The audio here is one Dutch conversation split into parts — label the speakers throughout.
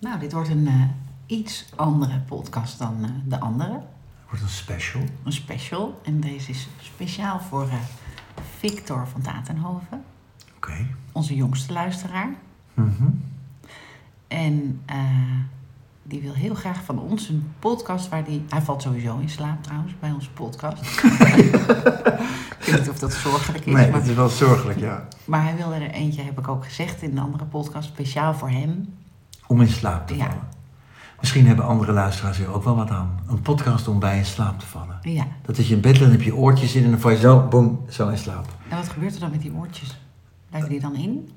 Speaker 1: Nou, dit wordt een eh, iets andere podcast dan eh, de andere.
Speaker 2: Het wordt een special.
Speaker 1: Een special. En deze is speciaal voor eh, Victor van Tatenhoven,
Speaker 2: Oké.
Speaker 1: onze jongste luisteraar.
Speaker 2: Mhm.
Speaker 1: En eh, die wil heel graag van ons een podcast waar die... Hij valt sowieso in slaap trouwens bij onze podcast. ik weet niet of dat zorgelijk is.
Speaker 2: Nee,
Speaker 1: maar...
Speaker 2: dat is wel zorgelijk, ja.
Speaker 1: maar hij wilde er eentje, heb ik ook gezegd in de andere podcast, speciaal voor hem.
Speaker 2: Om in slaap te
Speaker 1: Ja.
Speaker 2: vallen. Misschien hebben andere luisteraars hier ook wel wat aan. Een podcast om bij in slaap te vallen.
Speaker 1: Ja.
Speaker 2: Dat is je in bed, dan heb je oortjes in en dan val je zo, boem, zo in slaap.
Speaker 1: En wat gebeurt er dan met die oortjes? Blijven die dan in?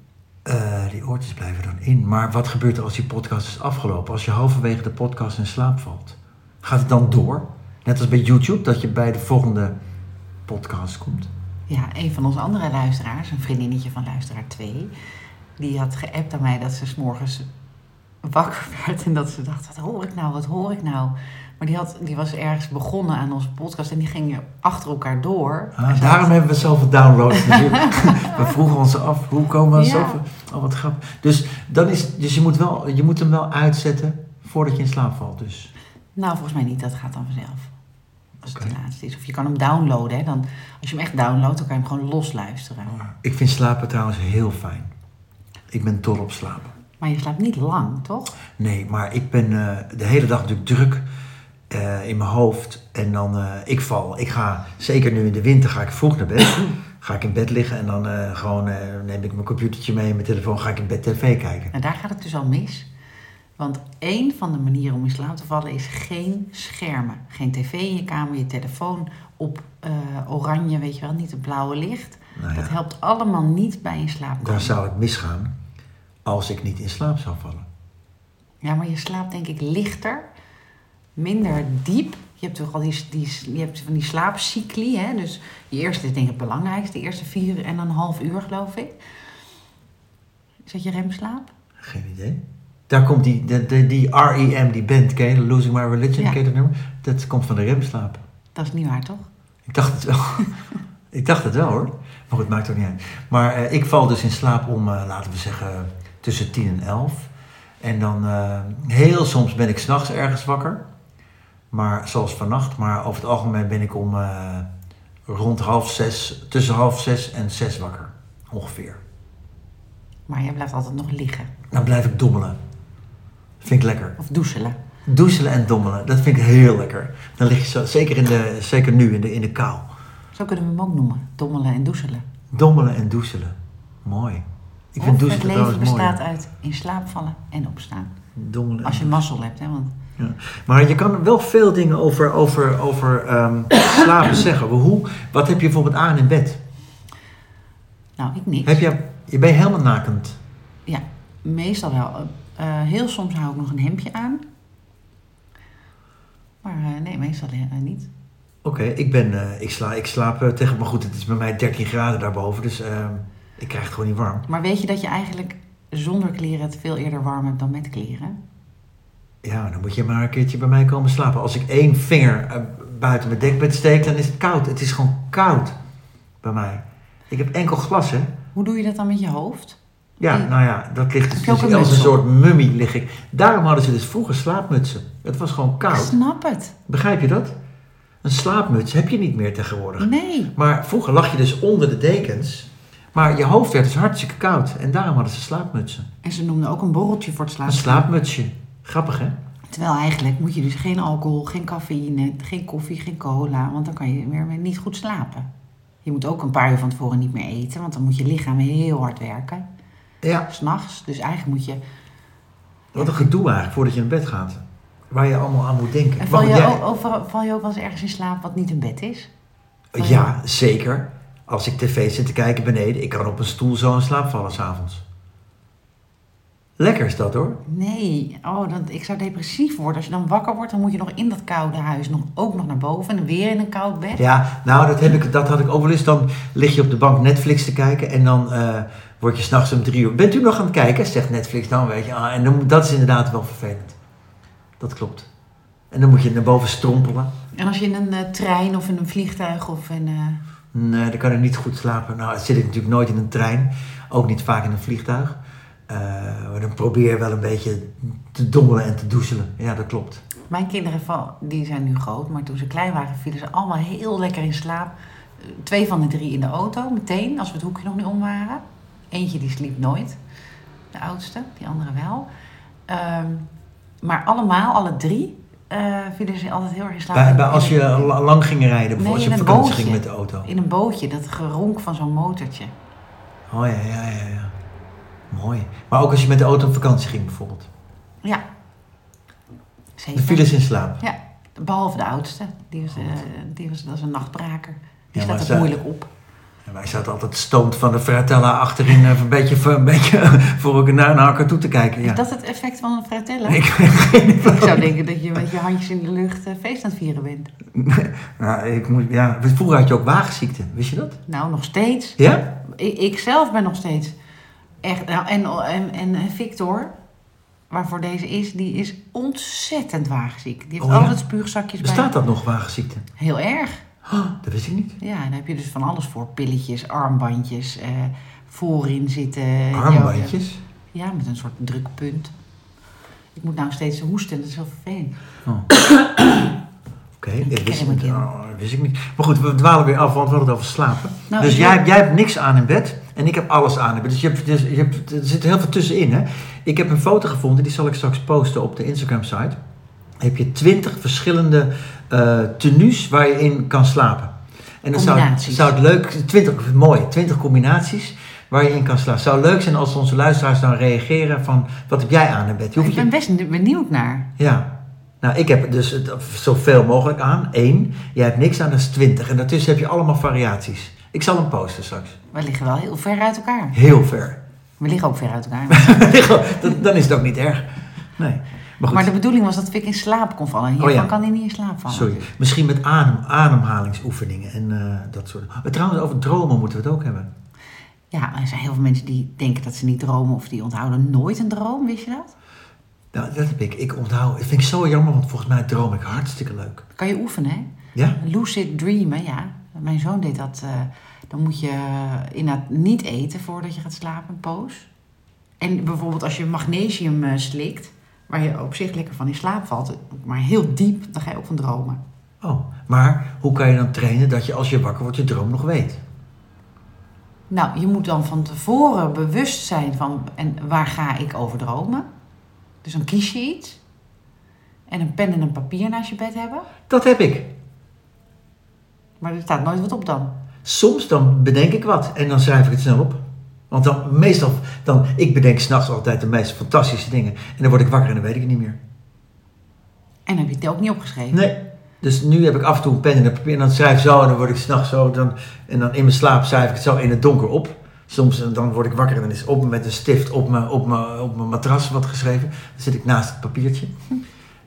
Speaker 2: Eh, die oortjes blijven dan in. Maar wat gebeurt er als die podcast is afgelopen? Als je halverwege de podcast in slaap valt, gaat het dan door? Net als bij YouTube, dat je bij de volgende podcast komt.
Speaker 1: Ja, een van onze andere luisteraars, een vriendinnetje van luisteraar 2, die had geappt aan mij dat ze s'morgens wakker werd en dat ze dacht, wat hoor ik nou, wat hoor ik nou? Maar die, had, die was ergens begonnen aan onze podcast en die ging achter elkaar door.
Speaker 2: Ah, daarom hebben we zoveel downloads natuurlijk. we vroegen ons af, hoe komen we
Speaker 1: Ja.
Speaker 2: zoveel? Oh, wat grappig. Dus, dan is, dus je, moet wel, je moet hem wel uitzetten voordat je in slaap valt. Dus.
Speaker 1: Nou, volgens mij niet, dat gaat dan vanzelf. Als het
Speaker 2: Oké.
Speaker 1: de laatste is. Of je kan hem downloaden, hè. Dan, als je hem echt downloadt, dan kan je hem gewoon losluisteren.
Speaker 2: Ik vind slapen trouwens heel fijn. Ik ben dol op slapen.
Speaker 1: Maar je slaapt niet lang, toch?
Speaker 2: Nee, maar ik ben eh, de hele dag natuurlijk druk eh, in mijn hoofd. En dan, eh, ik val. Ik ga, zeker nu in de winter, ga ik vroeg naar bed. ga ik in bed liggen en dan eh, gewoon eh, neem ik mijn computertje mee en mijn telefoon. Ga ik in bed tv kijken.
Speaker 1: Nou, daar gaat het dus al mis. Want één van de manieren om in slaap te vallen is geen schermen. Geen tv in je kamer, je telefoon op eh, oranje, weet je wel, niet het blauwe licht.
Speaker 2: Nou ja.
Speaker 1: Dat helpt allemaal niet bij in slaap
Speaker 2: Daar
Speaker 1: komen.
Speaker 2: zou ik misgaan als ik niet in slaap zou vallen.
Speaker 1: Ja, maar je slaapt denk ik lichter, minder diep. Je hebt toch al die, die, je hebt van die slaapcycli, hè? Dus je eerste is denk ik het belangrijkste, de eerste vier en een half uur geloof ik. Is dat je remslaap?
Speaker 2: Geen idee. Daar komt die, de, de- die REM, die band, ken je? Losing My Religion,
Speaker 1: Ja.
Speaker 2: ken je dat nummer? Dat komt van de remslaap.
Speaker 1: Dat is niet waar, toch?
Speaker 2: Ik dacht het wel. ik dacht het wel hoor. Maar goed, maakt ook niet uit. Maar eh, ik val dus in slaap om, eh, laten we zeggen, tussen 10 en 11. En dan eh, heel soms ben ik s'nachts ergens wakker. Maar zoals vannacht. Maar over het algemeen ben ik om eh, rond half zes, tussen half zes en zes wakker. Ongeveer.
Speaker 1: Maar jij blijft altijd nog liggen.
Speaker 2: Dan blijf ik dommelen. Vind ik lekker.
Speaker 1: Of doezelen.
Speaker 2: Doezelen en dommelen, dat vind ik heel lekker. Dan lig je zo, zeker, in de, zeker nu in de, in de kou.
Speaker 1: Zo kunnen we hem ook noemen. Dommelen en doezelen.
Speaker 2: Dommelen en doezelen. Mooi. Ik vind
Speaker 1: Of
Speaker 2: doezelen
Speaker 1: het leven
Speaker 2: trouwens mooi.
Speaker 1: bestaat uit in slaap vallen en opstaan.
Speaker 2: Dommelen. en-
Speaker 1: Als je mazzel hebt, hè. Want
Speaker 2: Ja. Maar je kan wel veel dingen over, over, over ehm, slapen zeggen. Hoe, wat heb je bijvoorbeeld aan in bed?
Speaker 1: nou, ik niks.
Speaker 2: Heb je, je bent helemaal nakend.
Speaker 1: Ja, meestal wel. Eh, heel soms hou ik nog een hemdje aan. Maar eh, nee, meestal eh, niet.
Speaker 2: Oké, ik ben, eh, ik, sla, ik slaap eh, tegen, maar goed, het is bij mij 13 graden daarboven, dus ehm, ik krijg het gewoon niet warm.
Speaker 1: Maar weet je dat je eigenlijk zonder kleren het veel eerder warm hebt dan met kleren?
Speaker 2: Ja, dan moet je maar een keertje bij mij komen slapen. Als ik één vinger eh, buiten mijn dekbed steek, dan is het koud. Het is gewoon koud bij mij. Ik heb enkel glas, hè?
Speaker 1: Hoe doe je dat dan met je hoofd?
Speaker 2: Ja,
Speaker 1: Ja.
Speaker 2: nou ja, dat ligt dus,
Speaker 1: Mm. Heb je ook
Speaker 2: dus
Speaker 1: een
Speaker 2: als een
Speaker 1: muts op?
Speaker 2: soort mummie lig ik. Daarom hadden ze dus vroeger slaapmutsen. Het was gewoon
Speaker 1: Ik
Speaker 2: koud.
Speaker 1: snap het.
Speaker 2: Begrijp je dat? Een slaapmuts heb je niet meer tegenwoordig.
Speaker 1: Nee.
Speaker 2: Maar vroeger lag je dus onder de dekens. Maar je hoofd werd dus hartstikke koud. En daarom hadden ze slaapmutsen.
Speaker 1: En ze noemden ook een borreltje voor het
Speaker 2: Een
Speaker 1: slapen.
Speaker 2: slaapmutsje. Grappig, hè?
Speaker 1: Terwijl eigenlijk moet je dus geen alcohol, geen cafeïne, geen koffie, geen cola, want dan kan je weer niet goed slapen. Je moet ook een paar uur van tevoren niet meer eten, want dan moet je lichaam heel hard werken.
Speaker 2: Ja,
Speaker 1: S'nachts, dus eigenlijk moet je...
Speaker 2: wat een gedoe eigenlijk voordat je naar bed gaat. Waar je allemaal aan moet denken.
Speaker 1: En val
Speaker 2: Want
Speaker 1: je,
Speaker 2: jij-
Speaker 1: ook, overal- val je ook wel eens ergens in slaap wat niet een bed is? val je-
Speaker 2: Ja, zeker. Als ik tv zit te kijken beneden, ik kan op een stoel zo in slaap vallen s'avonds. Lekker is dat hoor.
Speaker 1: Nee, oh, dan, ik zou depressief worden. Als je dan wakker wordt, dan moet je nog in dat koude huis nog, ook nog naar boven en weer in een koud bed.
Speaker 2: Ja, nou, dat, heb ik, dat had ik ook wel eens. Dan lig je op de bank Netflix te kijken en dan eh, word je s'nachts om drie uur. Bent u nog aan het kijken? Zegt Netflix dan, weet je. Ah, en dan, dat is inderdaad wel vervelend. Dat klopt. En dan moet je naar boven strompelen.
Speaker 1: En als je in een eh, trein of in een vliegtuig of in... eh,
Speaker 2: Nee, dan kan ik niet goed slapen. Nou, zit ik natuurlijk nooit in een trein. Ook niet vaak in een vliegtuig. Eh, maar dan probeer je wel een beetje te dommelen en te doezelen. Ja, dat klopt.
Speaker 1: Mijn kinderen van, die zijn nu groot, maar toen ze klein waren vielen ze allemaal heel lekker in slaap. Twee van de drie in de auto, meteen, als we het hoekje nog niet om waren. Eentje die sliep nooit, de oudste, die andere wel. Ehm, maar allemaal, alle drie, eh, vielen ze altijd heel erg in slaap.
Speaker 2: Bij, bij, als je la- lang ging rijden,
Speaker 1: Nee,
Speaker 2: bijvoorbeeld
Speaker 1: in
Speaker 2: als
Speaker 1: een
Speaker 2: je op vakantie
Speaker 1: bootje.
Speaker 2: ging met de auto.
Speaker 1: In een bootje, dat geronk van zo'n motortje.
Speaker 2: Oh ja, ja, ja, ja. Mooi. Maar ook als je met de auto op vakantie ging bijvoorbeeld.
Speaker 1: Ja. Zeker.
Speaker 2: Dan vielen ze in slaap.
Speaker 1: Ja, behalve de oudste. Die was, eh, die was, dat is een nachtbraker. Die
Speaker 2: Ja, maar
Speaker 1: staat
Speaker 2: ze-
Speaker 1: er moeilijk op.
Speaker 2: En wij zaten altijd stoned van de fratella achterin eh, een beetje, voor- een beetje voor elkaar naar, naar elkaar toe te kijken. Ja.
Speaker 1: Is dat het effect van een fratella?
Speaker 2: Ik,
Speaker 1: Ik zou denken dat je met je handjes in de lucht eh, feest aan het vieren bent.
Speaker 2: nou, ik moet, ja, vroeger had je ook waagziekte, wist je dat?
Speaker 1: Nou, nog steeds.
Speaker 2: Ja?
Speaker 1: Ik, ik zelf ben nog steeds echt... Nou, en, en, en Victor, waarvoor deze is, die is ontzettend waagziek. Die heeft
Speaker 2: Oh ja?
Speaker 1: altijd spuugzakjes bij.
Speaker 2: Bestaat dat nog, waagziekte?
Speaker 1: Heel erg.
Speaker 2: Oh, dat wist ik niet.
Speaker 1: Ja, en daar heb je dus van alles voor. Pilletjes, armbandjes, eh, voorin zitten.
Speaker 2: Armbandjes?
Speaker 1: Ja, met een soort drukpunt. Ik moet nou steeds hoesten, dat is heel vervelend.
Speaker 2: Oh. Oké,
Speaker 1: Ik
Speaker 2: dat wist ik
Speaker 1: ken
Speaker 2: niet.
Speaker 1: hem,
Speaker 2: Oh, dat wist ik niet. Maar goed, we dwalen weer af, want we hadden het over slapen.
Speaker 1: Nou,
Speaker 2: dus
Speaker 1: ik-
Speaker 2: jij, jij hebt niks aan in bed en ik heb alles aan in bed. Dus, je hebt, dus je hebt, er zit heel veel tussenin. Hè? Ik heb een foto gevonden, die zal ik straks posten op de Instagram-site. Heb je twintig verschillende eh tenues waar je in kan slapen. En dan zou,
Speaker 1: Combinaties.
Speaker 2: zou het leuk, twintig, mooi, twintig combinaties waar je in kan slapen. Zou leuk zijn als onze luisteraars dan reageren van, wat heb jij aan in bed? Je hoeft
Speaker 1: Ik ben best benieuwd naar.
Speaker 2: ja. Nou, ik heb dus het, zoveel mogelijk aan. Eén. Jij hebt niks aan, dat is twintig. En daartussen heb je allemaal variaties. Ik zal hem posten straks.
Speaker 1: We liggen wel heel ver uit elkaar.
Speaker 2: Heel ver.
Speaker 1: We liggen ook ver uit elkaar.
Speaker 2: dan, dan is het ook niet erg. Nee. Maar goed.
Speaker 1: Maar de bedoeling was dat Vic in slaap kon vallen. Hiervan
Speaker 2: Oh ja.
Speaker 1: kan hij niet in slaap vallen.
Speaker 2: Sorry. Misschien met adem, ademhalingsoefeningen en eh, dat soort. Maar trouwens, over dromen moeten we het ook hebben.
Speaker 1: Ja, er zijn heel veel mensen die denken dat ze niet dromen of die onthouden nooit een droom, wist je dat?
Speaker 2: Nou, dat heb ik. Ik onthoud. Dat vind ik zo jammer, want volgens mij droom ik hartstikke leuk.
Speaker 1: Dat kan je oefenen, hè?
Speaker 2: Ja?
Speaker 1: Lucid dreamen, ja. Mijn zoon deed dat. eh, dan moet je inderdaad niet eten voordat je gaat slapen, een poos. En bijvoorbeeld als je magnesium eh, slikt, waar je op zich lekker van in slaap valt, maar heel diep, dan ga je ook van dromen.
Speaker 2: Oh. Maar hoe kan je dan trainen dat je als je wakker wordt je droom nog weet?
Speaker 1: Nou, je moet dan van tevoren bewust zijn van en waar ga ik over dromen. Dus dan kies je iets. En een pen en een papier naast je bed hebben.
Speaker 2: Dat heb ik.
Speaker 1: Maar er staat nooit wat op dan.
Speaker 2: Soms dan bedenk ik wat en dan schrijf ik het snel op. Want dan meestal, dan, ik bedenk s'nachts altijd de meest fantastische dingen. En dan word ik wakker en dan weet ik het niet meer.
Speaker 1: En dan heb je het ook niet opgeschreven.
Speaker 2: Nee. Dus nu heb ik af en toe een pen en een papier en dan schrijf ik zo en dan word ik s'nachts zo. Dan, en dan in mijn slaap schrijf ik het zo in het donker op. Soms eh, dan word ik wakker en dan is het op met een stift op mijn, op mijn, op mijn matras wat geschreven. Dan zit ik naast het papiertje.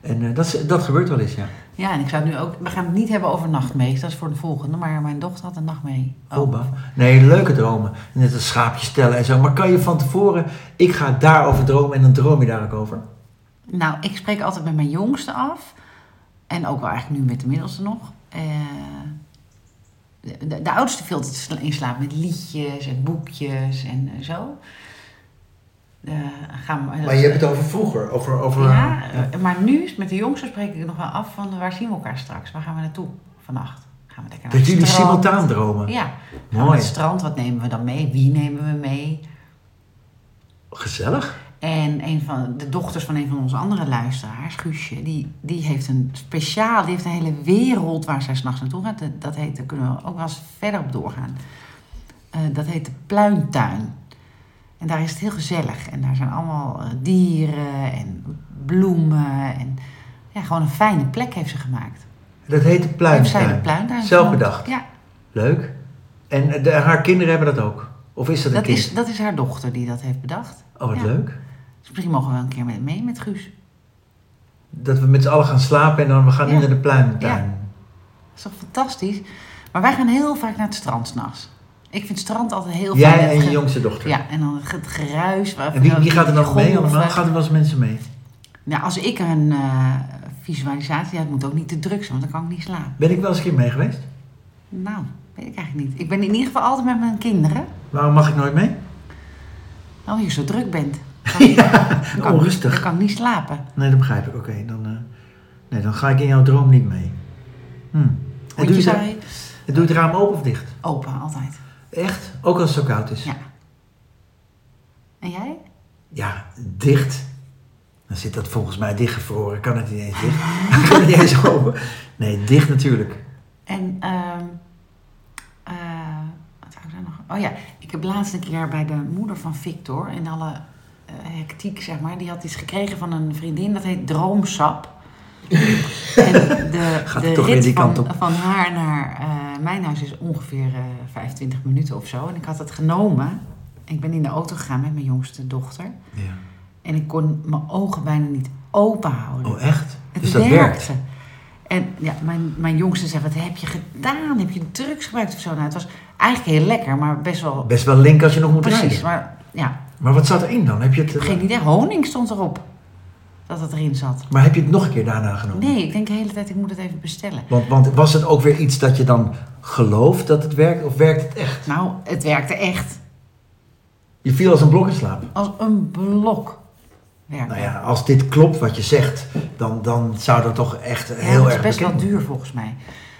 Speaker 2: En eh, dat, is- dat gebeurt wel eens, ja.
Speaker 1: Ja, en ik zou het nu ook... We gaan het niet hebben over nachtmerries. Dat is voor de volgende. Maar mijn dochter had een nachtmerrie.
Speaker 2: Oh, bah. Nee, leuke dromen. Net als schaapjes tellen en zo. Maar kan je van tevoren, ik ga daarover dromen en dan droom je daar ook over?
Speaker 1: Nou, ik spreek altijd met mijn jongste af. En ook wel eigenlijk nu met de middelste nog. Eh, de, de oudste viel altijd sla- in slaap met liedjes en boekjes en eh, zo. Eh, gaan we-
Speaker 2: Maar je hebt het over vroeger, over... over
Speaker 1: Ja, eh, maar nu is- met de jongste spreek ik nog wel af van waar zien we elkaar straks? Waar gaan we naartoe vannacht? Gaan we lekker naar
Speaker 2: Dat
Speaker 1: het
Speaker 2: jullie
Speaker 1: strand?
Speaker 2: simultaan dromen.
Speaker 1: Ja, gaan we
Speaker 2: Mooi.
Speaker 1: naar het strand. Wat nemen we dan mee? Wie nemen we mee?
Speaker 2: Gezellig.
Speaker 1: En een van de dochters van een van onze andere luisteraars, Guusje, die, die heeft een speciaal, die heeft een hele wereld waar zij s'nachts naartoe gaat. Dat- Dat heet, daar kunnen we ook wel eens verder op doorgaan. Eh, dat heet de Pluimtuin. En daar is het heel gezellig. En daar zijn allemaal eh, dieren en bloemen. En ja, gewoon een fijne plek heeft ze gemaakt.
Speaker 2: Dat heet de
Speaker 1: Heeft zij de
Speaker 2: pluimtuin.
Speaker 1: Pluimtuin
Speaker 2: Zelf
Speaker 1: genoemd.
Speaker 2: bedacht.
Speaker 1: Ja,
Speaker 2: Leuk. En eh, de- haar kinderen hebben dat ook? Of is dat een
Speaker 1: dat
Speaker 2: kind?
Speaker 1: is, dat is haar dochter die dat heeft bedacht.
Speaker 2: Oh, wat
Speaker 1: Ja.
Speaker 2: leuk.
Speaker 1: Dus misschien mogen we wel een keer met- mee met Guus.
Speaker 2: Dat we met z'n allen gaan slapen en dan we gaan nu
Speaker 1: Ja.
Speaker 2: naar de pluimtuin.
Speaker 1: Dat is toch fantastisch? Maar wij gaan heel vaak naar het strand s'nachts. Ik vind het strand altijd heel fijn.
Speaker 2: Jij
Speaker 1: Het
Speaker 2: en je
Speaker 1: ge-
Speaker 2: jongste dochter.
Speaker 1: Ja, en dan het geruis. waar-
Speaker 2: En wie, wie gaat er
Speaker 1: die
Speaker 2: dan mee
Speaker 1: golven.
Speaker 2: allemaal? Gaat er wel eens mensen mee?
Speaker 1: Nou, als ik een eh, visualisatie... Ja, het moet ook niet te druk zijn, want dan kan ik niet slapen.
Speaker 2: Ben ik wel eens een keer mee geweest?
Speaker 1: Nou, weet ik eigenlijk niet. Ik ben in ieder geval altijd met mijn kinderen.
Speaker 2: Waarom mag ik nooit mee?
Speaker 1: Omdat je zo druk bent.
Speaker 2: ja,
Speaker 1: Dan kan ik-
Speaker 2: onrustig.
Speaker 1: Dan kan ik niet slapen.
Speaker 2: Nee, dat begrijp ik. Oké, dan, eh, nee, dan ga ik in jouw droom niet mee. Hm. En,
Speaker 1: Want
Speaker 2: doe
Speaker 1: je
Speaker 2: je het,
Speaker 1: zei
Speaker 2: en doe je het raam open of dicht?
Speaker 1: open altijd.
Speaker 2: Echt? Ook als het zo koud is?
Speaker 1: Ja. En jij?
Speaker 2: Ja, dicht. Dan zit dat volgens mij dichtgevroren. Kan het niet eens dicht? kan het niet eens open? Nee, dicht natuurlijk.
Speaker 1: En ehm, eh, wat zou ik daar nog? Oh ja, ik heb laatst een keer bij de moeder van Victor in alle eh, hectiek zeg maar, die had iets gekregen van een vriendin dat heet droomsap. en de,
Speaker 2: Gaat
Speaker 1: de
Speaker 2: hij toch weer
Speaker 1: rit
Speaker 2: die
Speaker 1: van,
Speaker 2: kant op?
Speaker 1: van haar naar eh, mijn huis is ongeveer eh 25 minuten of zo. En ik had het genomen. Ik ben in de auto gegaan met mijn jongste dochter.
Speaker 2: Ja.
Speaker 1: En ik kon mijn ogen bijna niet open houden.
Speaker 2: Oh, echt?
Speaker 1: Het
Speaker 2: dus dat werkt.
Speaker 1: werkte. En ja, mijn, mijn jongste zei, wat heb je gedaan? Heb je drugs gebruikt of zo? Nou, het was eigenlijk heel lekker, maar best wel...
Speaker 2: Best wel link als je nog moet
Speaker 1: Precies,
Speaker 2: rijden.
Speaker 1: maar ja,
Speaker 2: Maar wat zat erin dan? Heb je het, eh,
Speaker 1: geen idee. Honing stond erop dat het erin zat.
Speaker 2: Maar heb je het nog een keer daarna genomen?
Speaker 1: Nee, ik denk de hele tijd, ik moet het even bestellen.
Speaker 2: Want, want was het ook weer iets dat je dan gelooft dat het werkt? Of werkt het echt?
Speaker 1: Nou, het werkte echt.
Speaker 2: Je viel als een blok in slaap.
Speaker 1: Als een blok werkte.
Speaker 2: Nou ja, als dit klopt wat je zegt, dan, dan zou dat toch echt
Speaker 1: Ja,
Speaker 2: heel
Speaker 1: dat
Speaker 2: erg
Speaker 1: is best wel
Speaker 2: bekend
Speaker 1: duur volgens mij.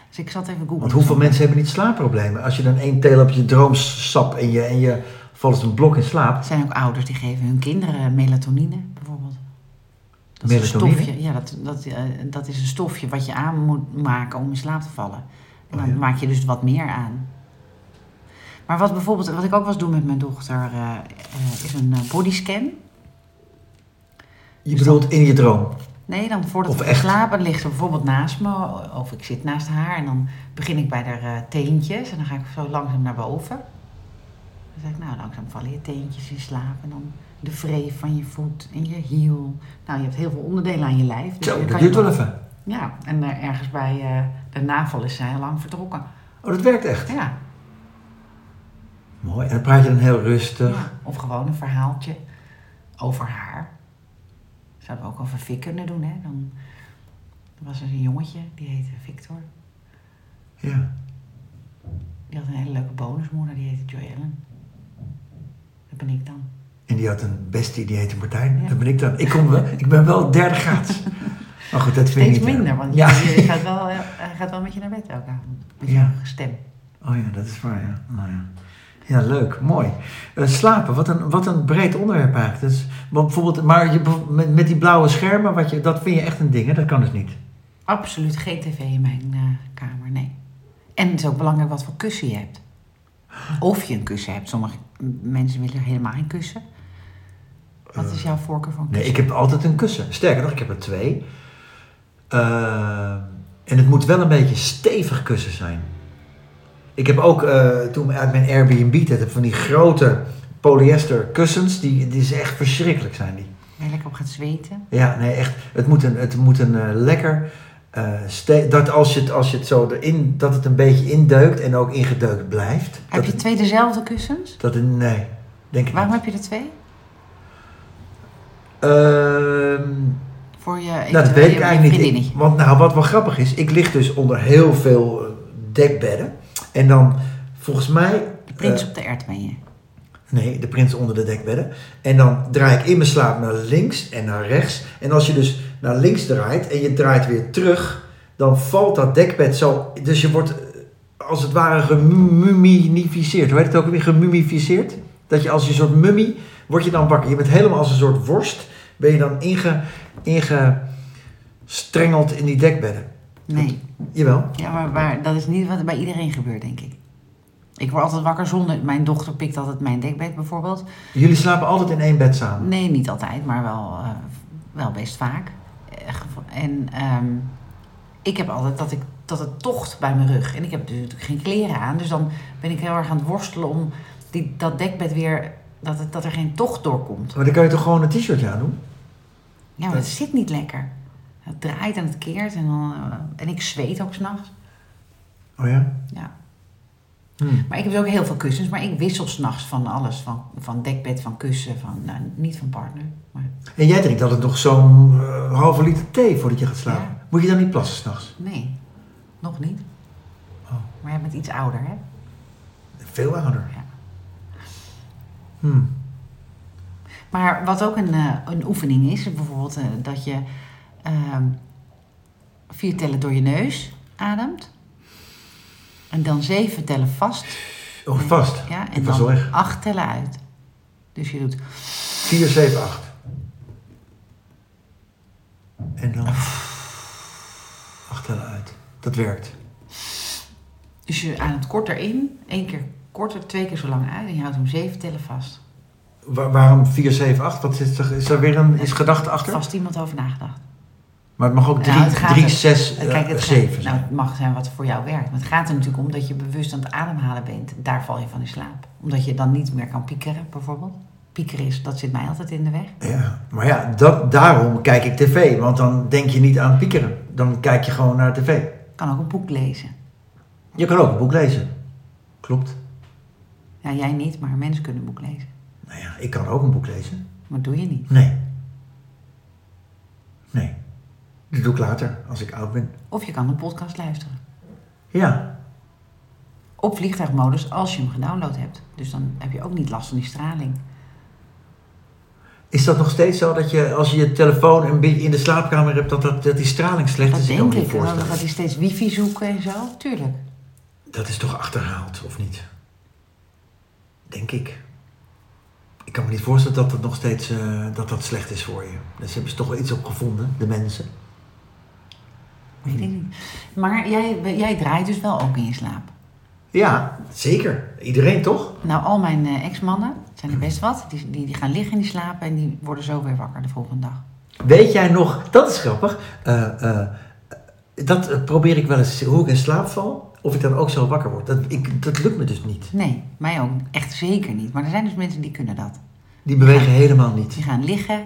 Speaker 1: Dus ik zat even googlen.
Speaker 2: Want hoeveel mensen hebben niet slaapproblemen? Als je dan één teel op je droomsap en je, en je valt als een blok in slaap.
Speaker 1: Er zijn ook ouders die geven hun kinderen melatonine, bijvoorbeeld. Dat
Speaker 2: Melatonine?
Speaker 1: Is een stofje, ja, dat, dat, eh, dat is een stofje wat je aan moet maken om in slaap te vallen. En
Speaker 2: Oh,
Speaker 1: dan
Speaker 2: ja.
Speaker 1: maak je dus wat meer aan. Maar wat bijvoorbeeld, wat ik ook was doen met mijn dochter, eh, eh, is een eh, bodyscan.
Speaker 2: Je bedoelt in je droom.
Speaker 1: Nee, dan voordat
Speaker 2: Of
Speaker 1: ik
Speaker 2: echt?
Speaker 1: slapen ligt ze bijvoorbeeld naast me, of ik zit naast haar en dan begin ik bij haar eh, teentjes en dan ga ik zo langzaam naar boven. Dan zeg ik, nou langzaam vallen je teentjes in slaap en dan de wreef van je voet en je hiel. Nou, je hebt heel veel onderdelen aan je lijf. Dus
Speaker 2: Zo,
Speaker 1: je
Speaker 2: dat
Speaker 1: je
Speaker 2: duurt wel even.
Speaker 1: Ja, en eh, ergens bij eh, de navel is zij al lang vertrokken.
Speaker 2: Oh, dat werkt echt.
Speaker 1: Ja,
Speaker 2: Mooi. En dan praat je dan heel rustig.
Speaker 1: ja, of gewoon een verhaaltje over haar. Zouden we ook over Vic kunnen doen, hè? Dan was er een jongetje, die heette Victor.
Speaker 2: Ja.
Speaker 1: Die had een hele leuke bonusmoeder, die heette Joy Ellen. Dat ben ik dan.
Speaker 2: En die had een bestie, die heette Martijn.
Speaker 1: Ja.
Speaker 2: Dat ben ik dan. Ik, kom wel, ik ben wel derde graads. Maar goed, dat vind
Speaker 1: Steeds
Speaker 2: ik niet. erg.
Speaker 1: minder, want
Speaker 2: ja.
Speaker 1: je, je gaat wel, eh, hij gaat wel met je naar bed elke avond. Met je
Speaker 2: Ja.
Speaker 1: stem.
Speaker 2: Oh ja, dat is waar, ja. Nou ja. Ja, leuk, mooi. Eh, slapen, wat een, wat een breed onderwerp eigenlijk. Dus, want bijvoorbeeld, maar je, met, met die blauwe schermen, wat je, dat vind je echt een ding, hè? Dat kan dus niet.
Speaker 1: Absoluut geen tv in mijn eh, kamer, nee. En het is ook belangrijk wat voor kussen je hebt. Of je een kussen hebt. Sommige m- mensen willen helemaal geen kussen. Wat is jouw voorkeur van
Speaker 2: Eh, Nee,
Speaker 1: kussen?
Speaker 2: ik heb altijd een kussen. Sterker nog, ik heb er twee. Eh, en het moet wel een beetje stevig kussen zijn. Ik heb ook eh, toen uit mijn Airbnb, dat heb van die grote polyester kussens, die, die ze echt verschrikkelijk zijn. Die.
Speaker 1: Waar je lekker op gaat zweten.
Speaker 2: Ja, nee, echt. Het moet een, het moet een eh, lekker. eh, ste- dat als je, het, als je het zo erin. dat het een beetje indeukt en ook ingedeukt blijft.
Speaker 1: Heb
Speaker 2: dat
Speaker 1: je
Speaker 2: het-
Speaker 1: twee dezelfde kussens?
Speaker 2: dat het- Nee, denk ik
Speaker 1: Waarom
Speaker 2: niet.
Speaker 1: heb je er twee?
Speaker 2: Ehm,
Speaker 1: Voor je
Speaker 2: nou, dat
Speaker 1: eventueel
Speaker 2: weet ik
Speaker 1: je
Speaker 2: eigenlijk niet.
Speaker 1: vriendinnetje.
Speaker 2: Ik- want nou, wat wel grappig is. Ik lig dus onder heel veel eh, dekbedden. En dan, volgens mij.
Speaker 1: De prins
Speaker 2: eh,
Speaker 1: op de ert ben je.
Speaker 2: nee, de prins onder de dekbedden. En dan draai ik in mijn slaap naar links en naar rechts. En als je dus naar links draait en je draait weer terug, dan valt dat dekbed zo. Dus je wordt eh, als het ware gemummificeerd. Hoe heet het ook weer? Gemummificeerd? Dat je als een soort mummie word je dan wakker. Je bent helemaal als een soort worst. Ben je dan inge, ingestrengeld in die dekbedden.
Speaker 1: Nee.
Speaker 2: Jawel.
Speaker 1: Ja, maar waar- dat is niet wat er bij iedereen gebeurt, denk ik. Ik word altijd wakker zonder... Mijn dochter pikt altijd mijn dekbed bijvoorbeeld.
Speaker 2: Jullie slapen altijd in één bed samen.
Speaker 1: Nee, niet altijd, maar wel, eh, wel best vaak. Eh, gevo- En ehm, ik heb altijd dat, ik, dat het tocht bij mijn rug. En ik heb dus natuurlijk geen kleren aan. Dus dan ben ik heel erg aan het worstelen om die, dat dekbed weer... Dat, het, dat er geen tocht doorkomt.
Speaker 2: Maar dan kan je toch gewoon een t-shirtje aan doen?
Speaker 1: Ja, maar dat zit niet lekker. Het draait en het keert. En, dan, eh, en ik zweet ook s'nachts.
Speaker 2: Oh ja?
Speaker 1: Ja.
Speaker 2: Hmm.
Speaker 1: Maar ik heb dus ook heel veel kussens, maar ik wissel s'nachts van alles. Van, van dekbed, van kussen, van, nou, niet van partner. Maar,
Speaker 2: En jij drinkt altijd nog zo'n eh, halve liter thee voordat je gaat slapen.
Speaker 1: Ja.
Speaker 2: Moet je dan niet plassen s'nachts?
Speaker 1: nee, nog niet.
Speaker 2: Oh.
Speaker 1: Maar jij bent iets ouder, hè?
Speaker 2: Veel ouder.
Speaker 1: Ja.
Speaker 2: Hmm.
Speaker 1: Maar wat ook een, eh, een oefening is, bijvoorbeeld eh, dat je ehm, vier tellen door je neus ademt. En dan zeven tellen vast.
Speaker 2: Oh, vast.
Speaker 1: Ja, en
Speaker 2: Ik was
Speaker 1: dan
Speaker 2: al weg.
Speaker 1: acht tellen uit. Dus je doet
Speaker 2: 4, 7, 8. En dan. 8 tellen uit. Dat werkt.
Speaker 1: Dus je ademt korter in, één keer korter, twee keer zo lang uit en je houdt hem zeven tellen vast.
Speaker 2: Wa- waarom 4, 7, 8? Wat is, er, is er weer een is gedachte achter?
Speaker 1: Vast iemand over nagedacht.
Speaker 2: Maar het mag ook
Speaker 1: Nou, het
Speaker 2: 3,
Speaker 1: gaat
Speaker 2: 3
Speaker 1: er-
Speaker 2: 6,
Speaker 1: Kijk, het,
Speaker 2: 7
Speaker 1: gaat, nou, het mag zijn wat voor jou werkt. Maar het gaat er natuurlijk om dat je bewust aan het ademhalen bent. Daar val je van in slaap. Omdat je dan niet meer kan piekeren, bijvoorbeeld. Piekeren is, dat zit mij altijd in de weg.
Speaker 2: Ja, maar ja, dat, daarom kijk ik tv. Want dan denk je niet aan piekeren. Dan kijk je gewoon naar tv.
Speaker 1: Kan ook een boek lezen.
Speaker 2: Je kan ook een boek lezen. Klopt.
Speaker 1: Ja, jij niet, maar mensen kunnen een boek lezen.
Speaker 2: Nou ja, ik kan ook een boek lezen.
Speaker 1: Maar dat doe je niet.
Speaker 2: Nee. Nee. Dat doe ik later, als ik oud ben.
Speaker 1: Of je kan een podcast luisteren.
Speaker 2: Ja.
Speaker 1: Op vliegtuigmodus als je hem gedownload hebt. Dus dan heb je ook niet last van die straling.
Speaker 2: Is dat nog steeds zo dat je, als je je telefoon een beetje in de slaapkamer hebt, dat, dat, dat die straling slecht
Speaker 1: Dat
Speaker 2: is? kan
Speaker 1: denk
Speaker 2: me niet
Speaker 1: ik. En dan
Speaker 2: voorstellen.
Speaker 1: gaat hij steeds wifi zoeken en zo. Tuurlijk.
Speaker 2: Dat is toch achterhaald, of niet? Denk ik. Ik kan me niet voorstellen dat dat nog steeds eh, dat dat slecht is voor je. Dus hebben ze toch wel iets op gevonden, de mensen.
Speaker 1: Weet
Speaker 2: Hmm.
Speaker 1: ik niet. Maar jij, jij draait dus wel ook in je slaap.
Speaker 2: Ja, zeker. Iedereen toch?
Speaker 1: Nou, al mijn eh, ex-mannen, het zijn er best wat, die, die, die gaan liggen en die slapen en die worden zo weer wakker de volgende dag.
Speaker 2: Weet jij nog, dat is grappig. eh, eh, dat eh, probeer ik wel eens, hoe ik in slaap val, of ik dan ook zo wakker word. Dat, ik, dat lukt me dus niet.
Speaker 1: Nee, mij ook echt zeker niet. Maar er zijn dus mensen die kunnen dat.
Speaker 2: Die bewegen helemaal niet.
Speaker 1: Die gaan liggen.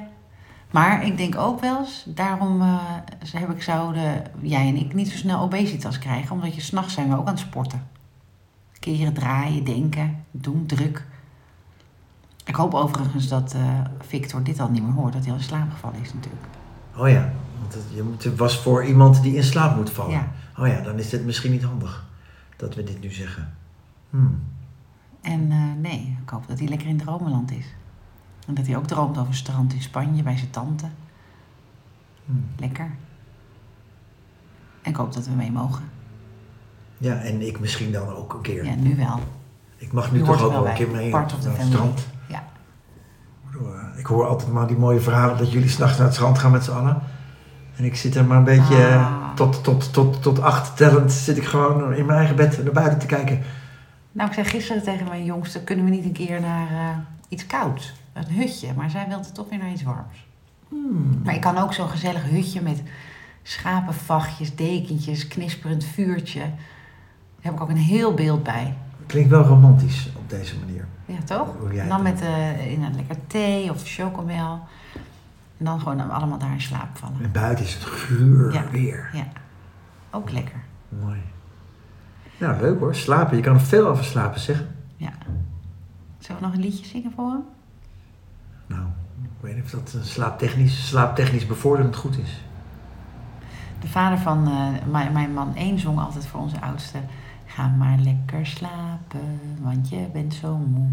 Speaker 1: Maar ik denk ook wel eens, daarom eh, ze heb ik, zouden jij en ik niet zo snel obesitas krijgen. Omdat je s'nachts zijn we ook aan het sporten. Keren, draaien, denken, doen, druk. Ik hoop overigens dat eh, Victor dit al niet meer hoort, dat hij al in slaap gevallen is natuurlijk.
Speaker 2: Oh ja, want het, je moet, het was voor iemand die in slaap moet vallen.
Speaker 1: Ja.
Speaker 2: Oh ja, dan is dit misschien niet handig dat we dit nu zeggen. Hmm.
Speaker 1: En eh, nee, ik hoop dat hij lekker in dromenland is. En dat hij ook droomt over strand in Spanje bij zijn tante.
Speaker 2: Hmm.
Speaker 1: Lekker. En ik hoop dat we mee mogen.
Speaker 2: Ja, en ik misschien dan ook een keer.
Speaker 1: Ja, nu wel.
Speaker 2: Ik mag
Speaker 1: Nu
Speaker 2: nu
Speaker 1: hoort
Speaker 2: toch
Speaker 1: er wel
Speaker 2: ook wel een
Speaker 1: bij.
Speaker 2: keer mee
Speaker 1: Part of the
Speaker 2: naar het
Speaker 1: family.
Speaker 2: strand.
Speaker 1: Ja.
Speaker 2: Ik hoor altijd maar die mooie verhalen dat jullie s'nachts naar het strand gaan met z'n allen. En ik zit er maar een beetje
Speaker 1: Ah.
Speaker 2: eh, tot, tot, tot, tot acht tellend zit ik gewoon in mijn eigen bed naar buiten te kijken.
Speaker 1: Nou, ik zei gisteren tegen mijn jongste, kunnen we niet een keer naar eh, iets kouds? Een hutje, maar zij wilde toch weer naar iets warms.
Speaker 2: Hmm,
Speaker 1: Maar ik kan ook zo'n gezellig hutje met schapenvachtjes, dekentjes, knisperend vuurtje. Daar heb ik ook een heel beeld bij.
Speaker 2: Klinkt wel romantisch op deze manier.
Speaker 1: Ja, toch?
Speaker 2: Hoe jij
Speaker 1: En dan
Speaker 2: het
Speaker 1: met eh, in een lekker thee of chocomel. En dan gewoon allemaal daar in slaap vallen.
Speaker 2: En buiten is het geur
Speaker 1: Ja.
Speaker 2: weer.
Speaker 1: Ja, ook lekker.
Speaker 2: Mooi. Nou, leuk hoor. Slapen. Je kan er veel over slapen zeggen.
Speaker 1: Ja. Zullen we nog een liedje zingen voor hem?
Speaker 2: Nou, ik weet niet of dat eh, slaaptechnisch, slaaptechnisch bevorderend goed is.
Speaker 1: De vader van eh, mijn, mijn man één zong altijd voor onze oudste. Ga maar lekker slapen, want je bent zo moe.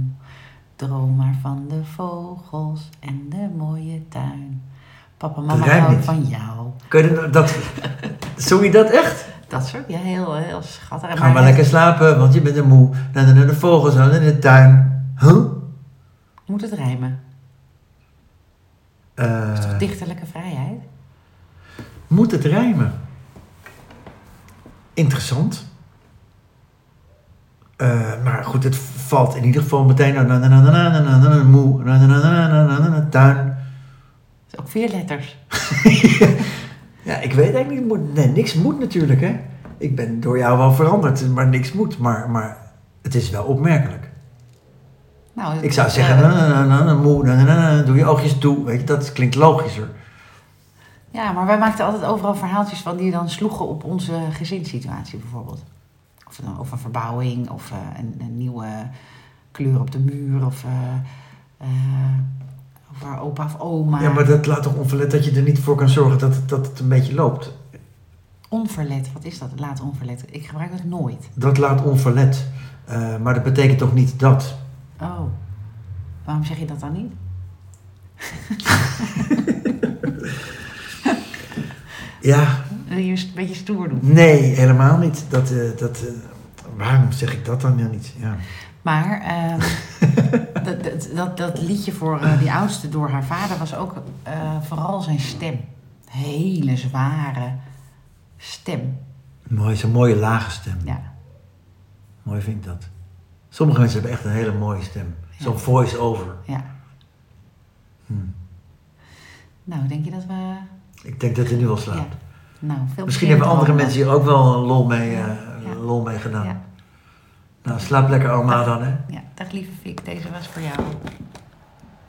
Speaker 1: Droom maar van de vogels en de mooie tuin. Papa, mama
Speaker 2: rijmt
Speaker 1: houden
Speaker 2: niet.
Speaker 1: van jou.
Speaker 2: Kun je dat- dat... Zong je dat echt?
Speaker 1: Dat soort, ja, heel, heel schattig. En
Speaker 2: Ga maar
Speaker 1: hij-
Speaker 2: lekker slapen, want je bent er moe. Naar de, naar de vogels, naar de tuin. Huh?
Speaker 1: Moet het rijmen?
Speaker 2: Eh,
Speaker 1: Dat is toch dichterlijke vrijheid?
Speaker 2: moet het rijmen? Interessant. Eh, maar goed, het valt in ieder geval meteen... na- na- na- na- na- na- na- na- Moe, na- na- na- na- na- na- na- na- tuin.
Speaker 1: Dat is ook vier letters.
Speaker 2: Ja, ik weet eigenlijk niet. Moet, nee, niks moet natuurlijk, hè. Ik ben door jou wel veranderd, maar niks moet. Maar, maar het is wel opmerkelijk.
Speaker 1: Nou, het-
Speaker 2: Ik zou
Speaker 1: eh,
Speaker 2: zeggen, na, na, na, na, na, moe, na, na, na, na, doe je oogjes toe. Weet je, dat klinkt logischer.
Speaker 1: Ja, maar wij maakten altijd overal verhaaltjes van die dan sloegen op onze gezinssituatie bijvoorbeeld. Of, een- of een verbouwing, of eh, een, een nieuwe kleur op de muur, of eh, eh, over opa of oma.
Speaker 2: Ja, maar dat laat toch onverlet dat je er niet voor kan zorgen dat, het- dat het een beetje loopt.
Speaker 1: Onverlet, wat is dat? Laat onverlet. Ik gebruik dat nooit.
Speaker 2: Dat laat onverlet. Eh, maar dat betekent toch niet dat.
Speaker 1: Oh, waarom zeg je dat dan niet?
Speaker 2: Ja,
Speaker 1: Wil je een beetje stoer doen?
Speaker 2: nee, helemaal niet. Dat, eh, dat, eh, waarom zeg ik dat dan weer niet? Ja.
Speaker 1: Maar ehm, dat, dat, dat, dat liedje voor eh, die oudste door haar vader was ook eh, vooral zijn stem. Hele zware stem.
Speaker 2: Mooi, zo'n mooie lage stem.
Speaker 1: Ja,
Speaker 2: Mooi vind ik dat. Sommige mensen hebben echt een hele mooie stem. Zo'n voice-over.
Speaker 1: ja.
Speaker 2: Hm.
Speaker 1: Nou, denk je dat we...
Speaker 2: Ik denk dat hij nu al slaapt.
Speaker 1: Ja. Nou, veel
Speaker 2: Misschien
Speaker 1: plezier
Speaker 2: hebben
Speaker 1: met
Speaker 2: andere
Speaker 1: wandelen.
Speaker 2: mensen hier ook wel een lol mee, eh,
Speaker 1: Ja.
Speaker 2: lol mee gedaan.
Speaker 1: Ja.
Speaker 2: Nou, slaap lekker allemaal dan, hè.
Speaker 1: Ja, dag lieve Fik, deze was voor jou.